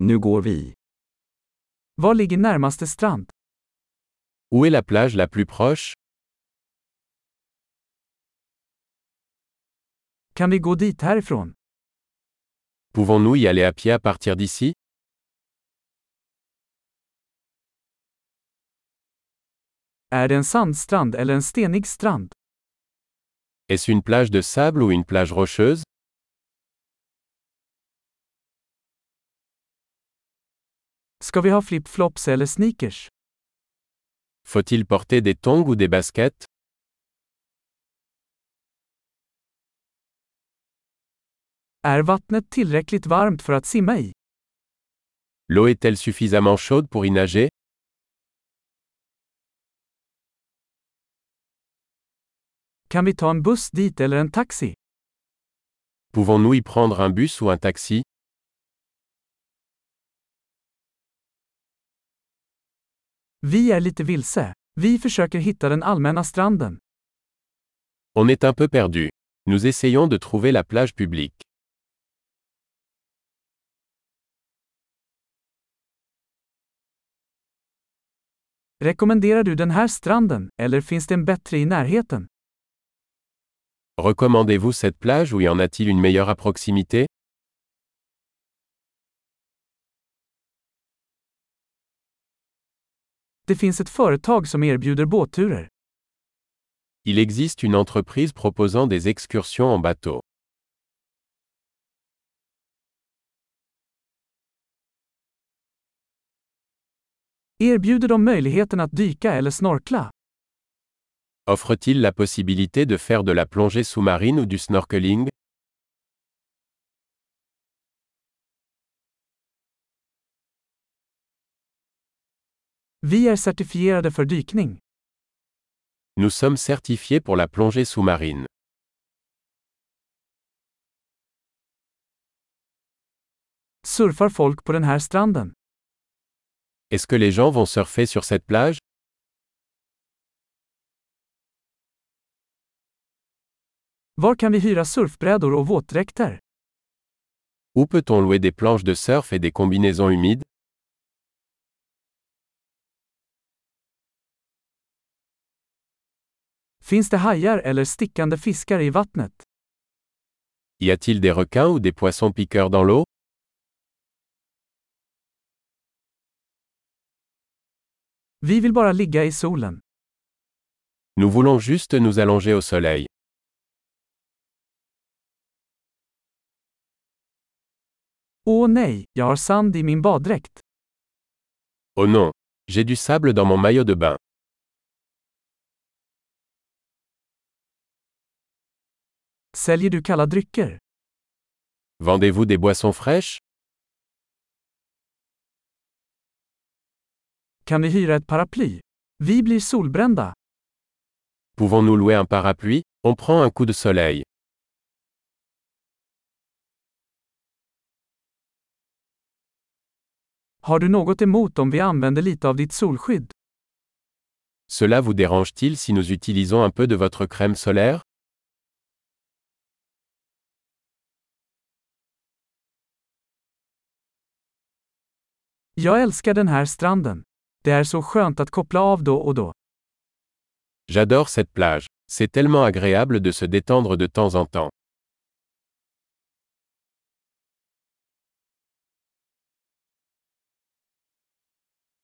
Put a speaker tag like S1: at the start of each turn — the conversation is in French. S1: Nu går vi.
S2: Var ligger närmaste strand?
S3: Où est la plage la plus proche
S2: Kan vi gå dit härifrån?
S3: Pouvons-nous y aller à pied à partir d'ici
S2: Är det en sandstrand eller en stenig strand?
S3: Est-ce une plage de sable ou une plage rocheuse
S2: Ska vi ha flip-flops eller sneakers?
S3: Faut-il porter des tongs ou des baskets
S2: Är vattnet tillräckligt varmt för att simma i?
S3: L'eau est-elle suffisamment chaude pour y nager
S2: Kan vi ta en buss dit eller en taxi?
S3: Pouvons-nous y prendre un bus ou un taxi
S2: Vi är lite vilse. Vi försöker hitta den allmänna stranden.
S3: On est un peu perdu. Nous essayons de trouver la plage publique.
S2: Rekommenderar du den här stranden, eller finns det en bättre i närheten?
S3: Recommandez-vous cette plage ou y en a-t-il une meilleure à proximité
S2: Det finns ett företag som erbjuder båtturer.
S3: Il existe une entreprise proposant des excursions en bateau.
S2: Erbjuder de möjligheten att dyka eller snorkla?
S3: Offre-t-il la possibilité de faire de la plongée sous-marine ou du snorkeling
S2: Vi är certifierade för dykning.
S3: Nous sommes certifiés pour la plongée sous-marine.
S2: Surfar folk på den här stranden?
S3: Est-ce que les gens vont surfer sur cette plage
S2: Var kan vi hyra surfbrädor och våtdräkter?
S3: Où peut-on louer des planches de surf et des combinaisons humides
S2: Finns det hajar eller stickande fiskar i vattnet?
S3: Y a-t-il des requins ou des poissons piqueurs dans l'eau
S2: Vi vill bara ligga i solen.
S3: Nous voulons juste nous allonger au soleil.
S2: Åh nej, jag har sand i min baddräkt.
S3: Oh non, j'ai du sable dans mon maillot de bain.
S2: Säljer du kalla drycker?
S3: Vendez-vous des boissons fraîches
S2: Kan vi hyra ett paraply? Vi blir solbrända.
S3: Pouvons-nous louer un parapluie On prend un coup de soleil.
S2: Har du något emot om vi använder lite av ditt solskydd?
S3: Cela vous dérange-t-il si nous utilisons un peu de votre crème solaire
S2: Jag älskar den här stranden. Det är så skönt att koppla av då och då.
S3: J'adore cette plage. C'est tellement agréable de se détendre de temps en temps.